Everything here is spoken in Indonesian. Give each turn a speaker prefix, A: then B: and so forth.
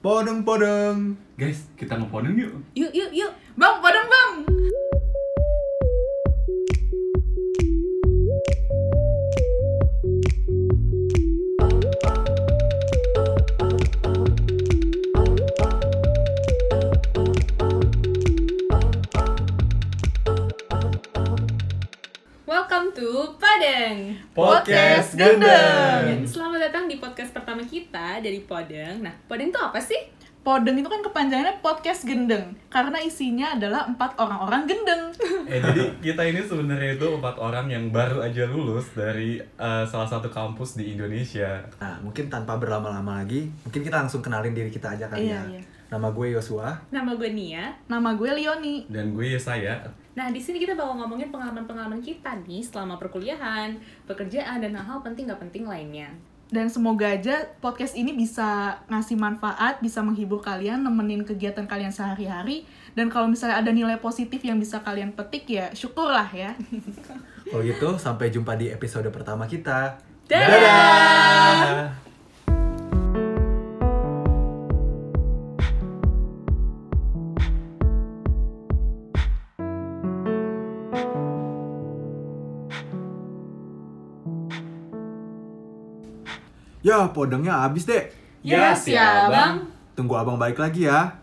A: Podeng podeng.
B: Guys, kita ngeponin yuk.
C: Yuk, yuk, yuk.
D: Bang, padang bang.
C: Welcome to Padang.
A: Podcast Gendeng.
C: Selamat datang di podcast pertama kita dari Podeng. Nah, Podeng itu apa sih?
D: Podeng itu kan kepanjangannya podcast gendeng karena isinya adalah empat orang-orang gendeng.
B: Eh, jadi kita ini sebenarnya itu empat orang yang baru aja lulus dari eh, salah satu kampus di Indonesia.
A: Nah, mungkin tanpa berlama-lama lagi, mungkin kita langsung kenalin diri kita aja kali
D: Iya,
A: ya.
D: iya.
A: Nama gue Yosua.
C: Nama gue Nia.
D: Nama gue Leoni.
B: Dan gue saya.
C: Nah, di sini kita bakal ngomongin pengalaman-pengalaman kita nih selama perkuliahan, pekerjaan, dan hal-hal penting gak penting lainnya.
D: Dan semoga aja podcast ini bisa ngasih manfaat, bisa menghibur kalian, nemenin kegiatan kalian sehari-hari. Dan kalau misalnya ada nilai positif yang bisa kalian petik ya syukurlah ya.
A: Kalau gitu, sampai jumpa di episode pertama kita.
C: Dadah!
B: Dadah!
A: Ya, podengnya habis deh.
B: Ya, siap, Bang.
A: Tunggu abang balik lagi ya.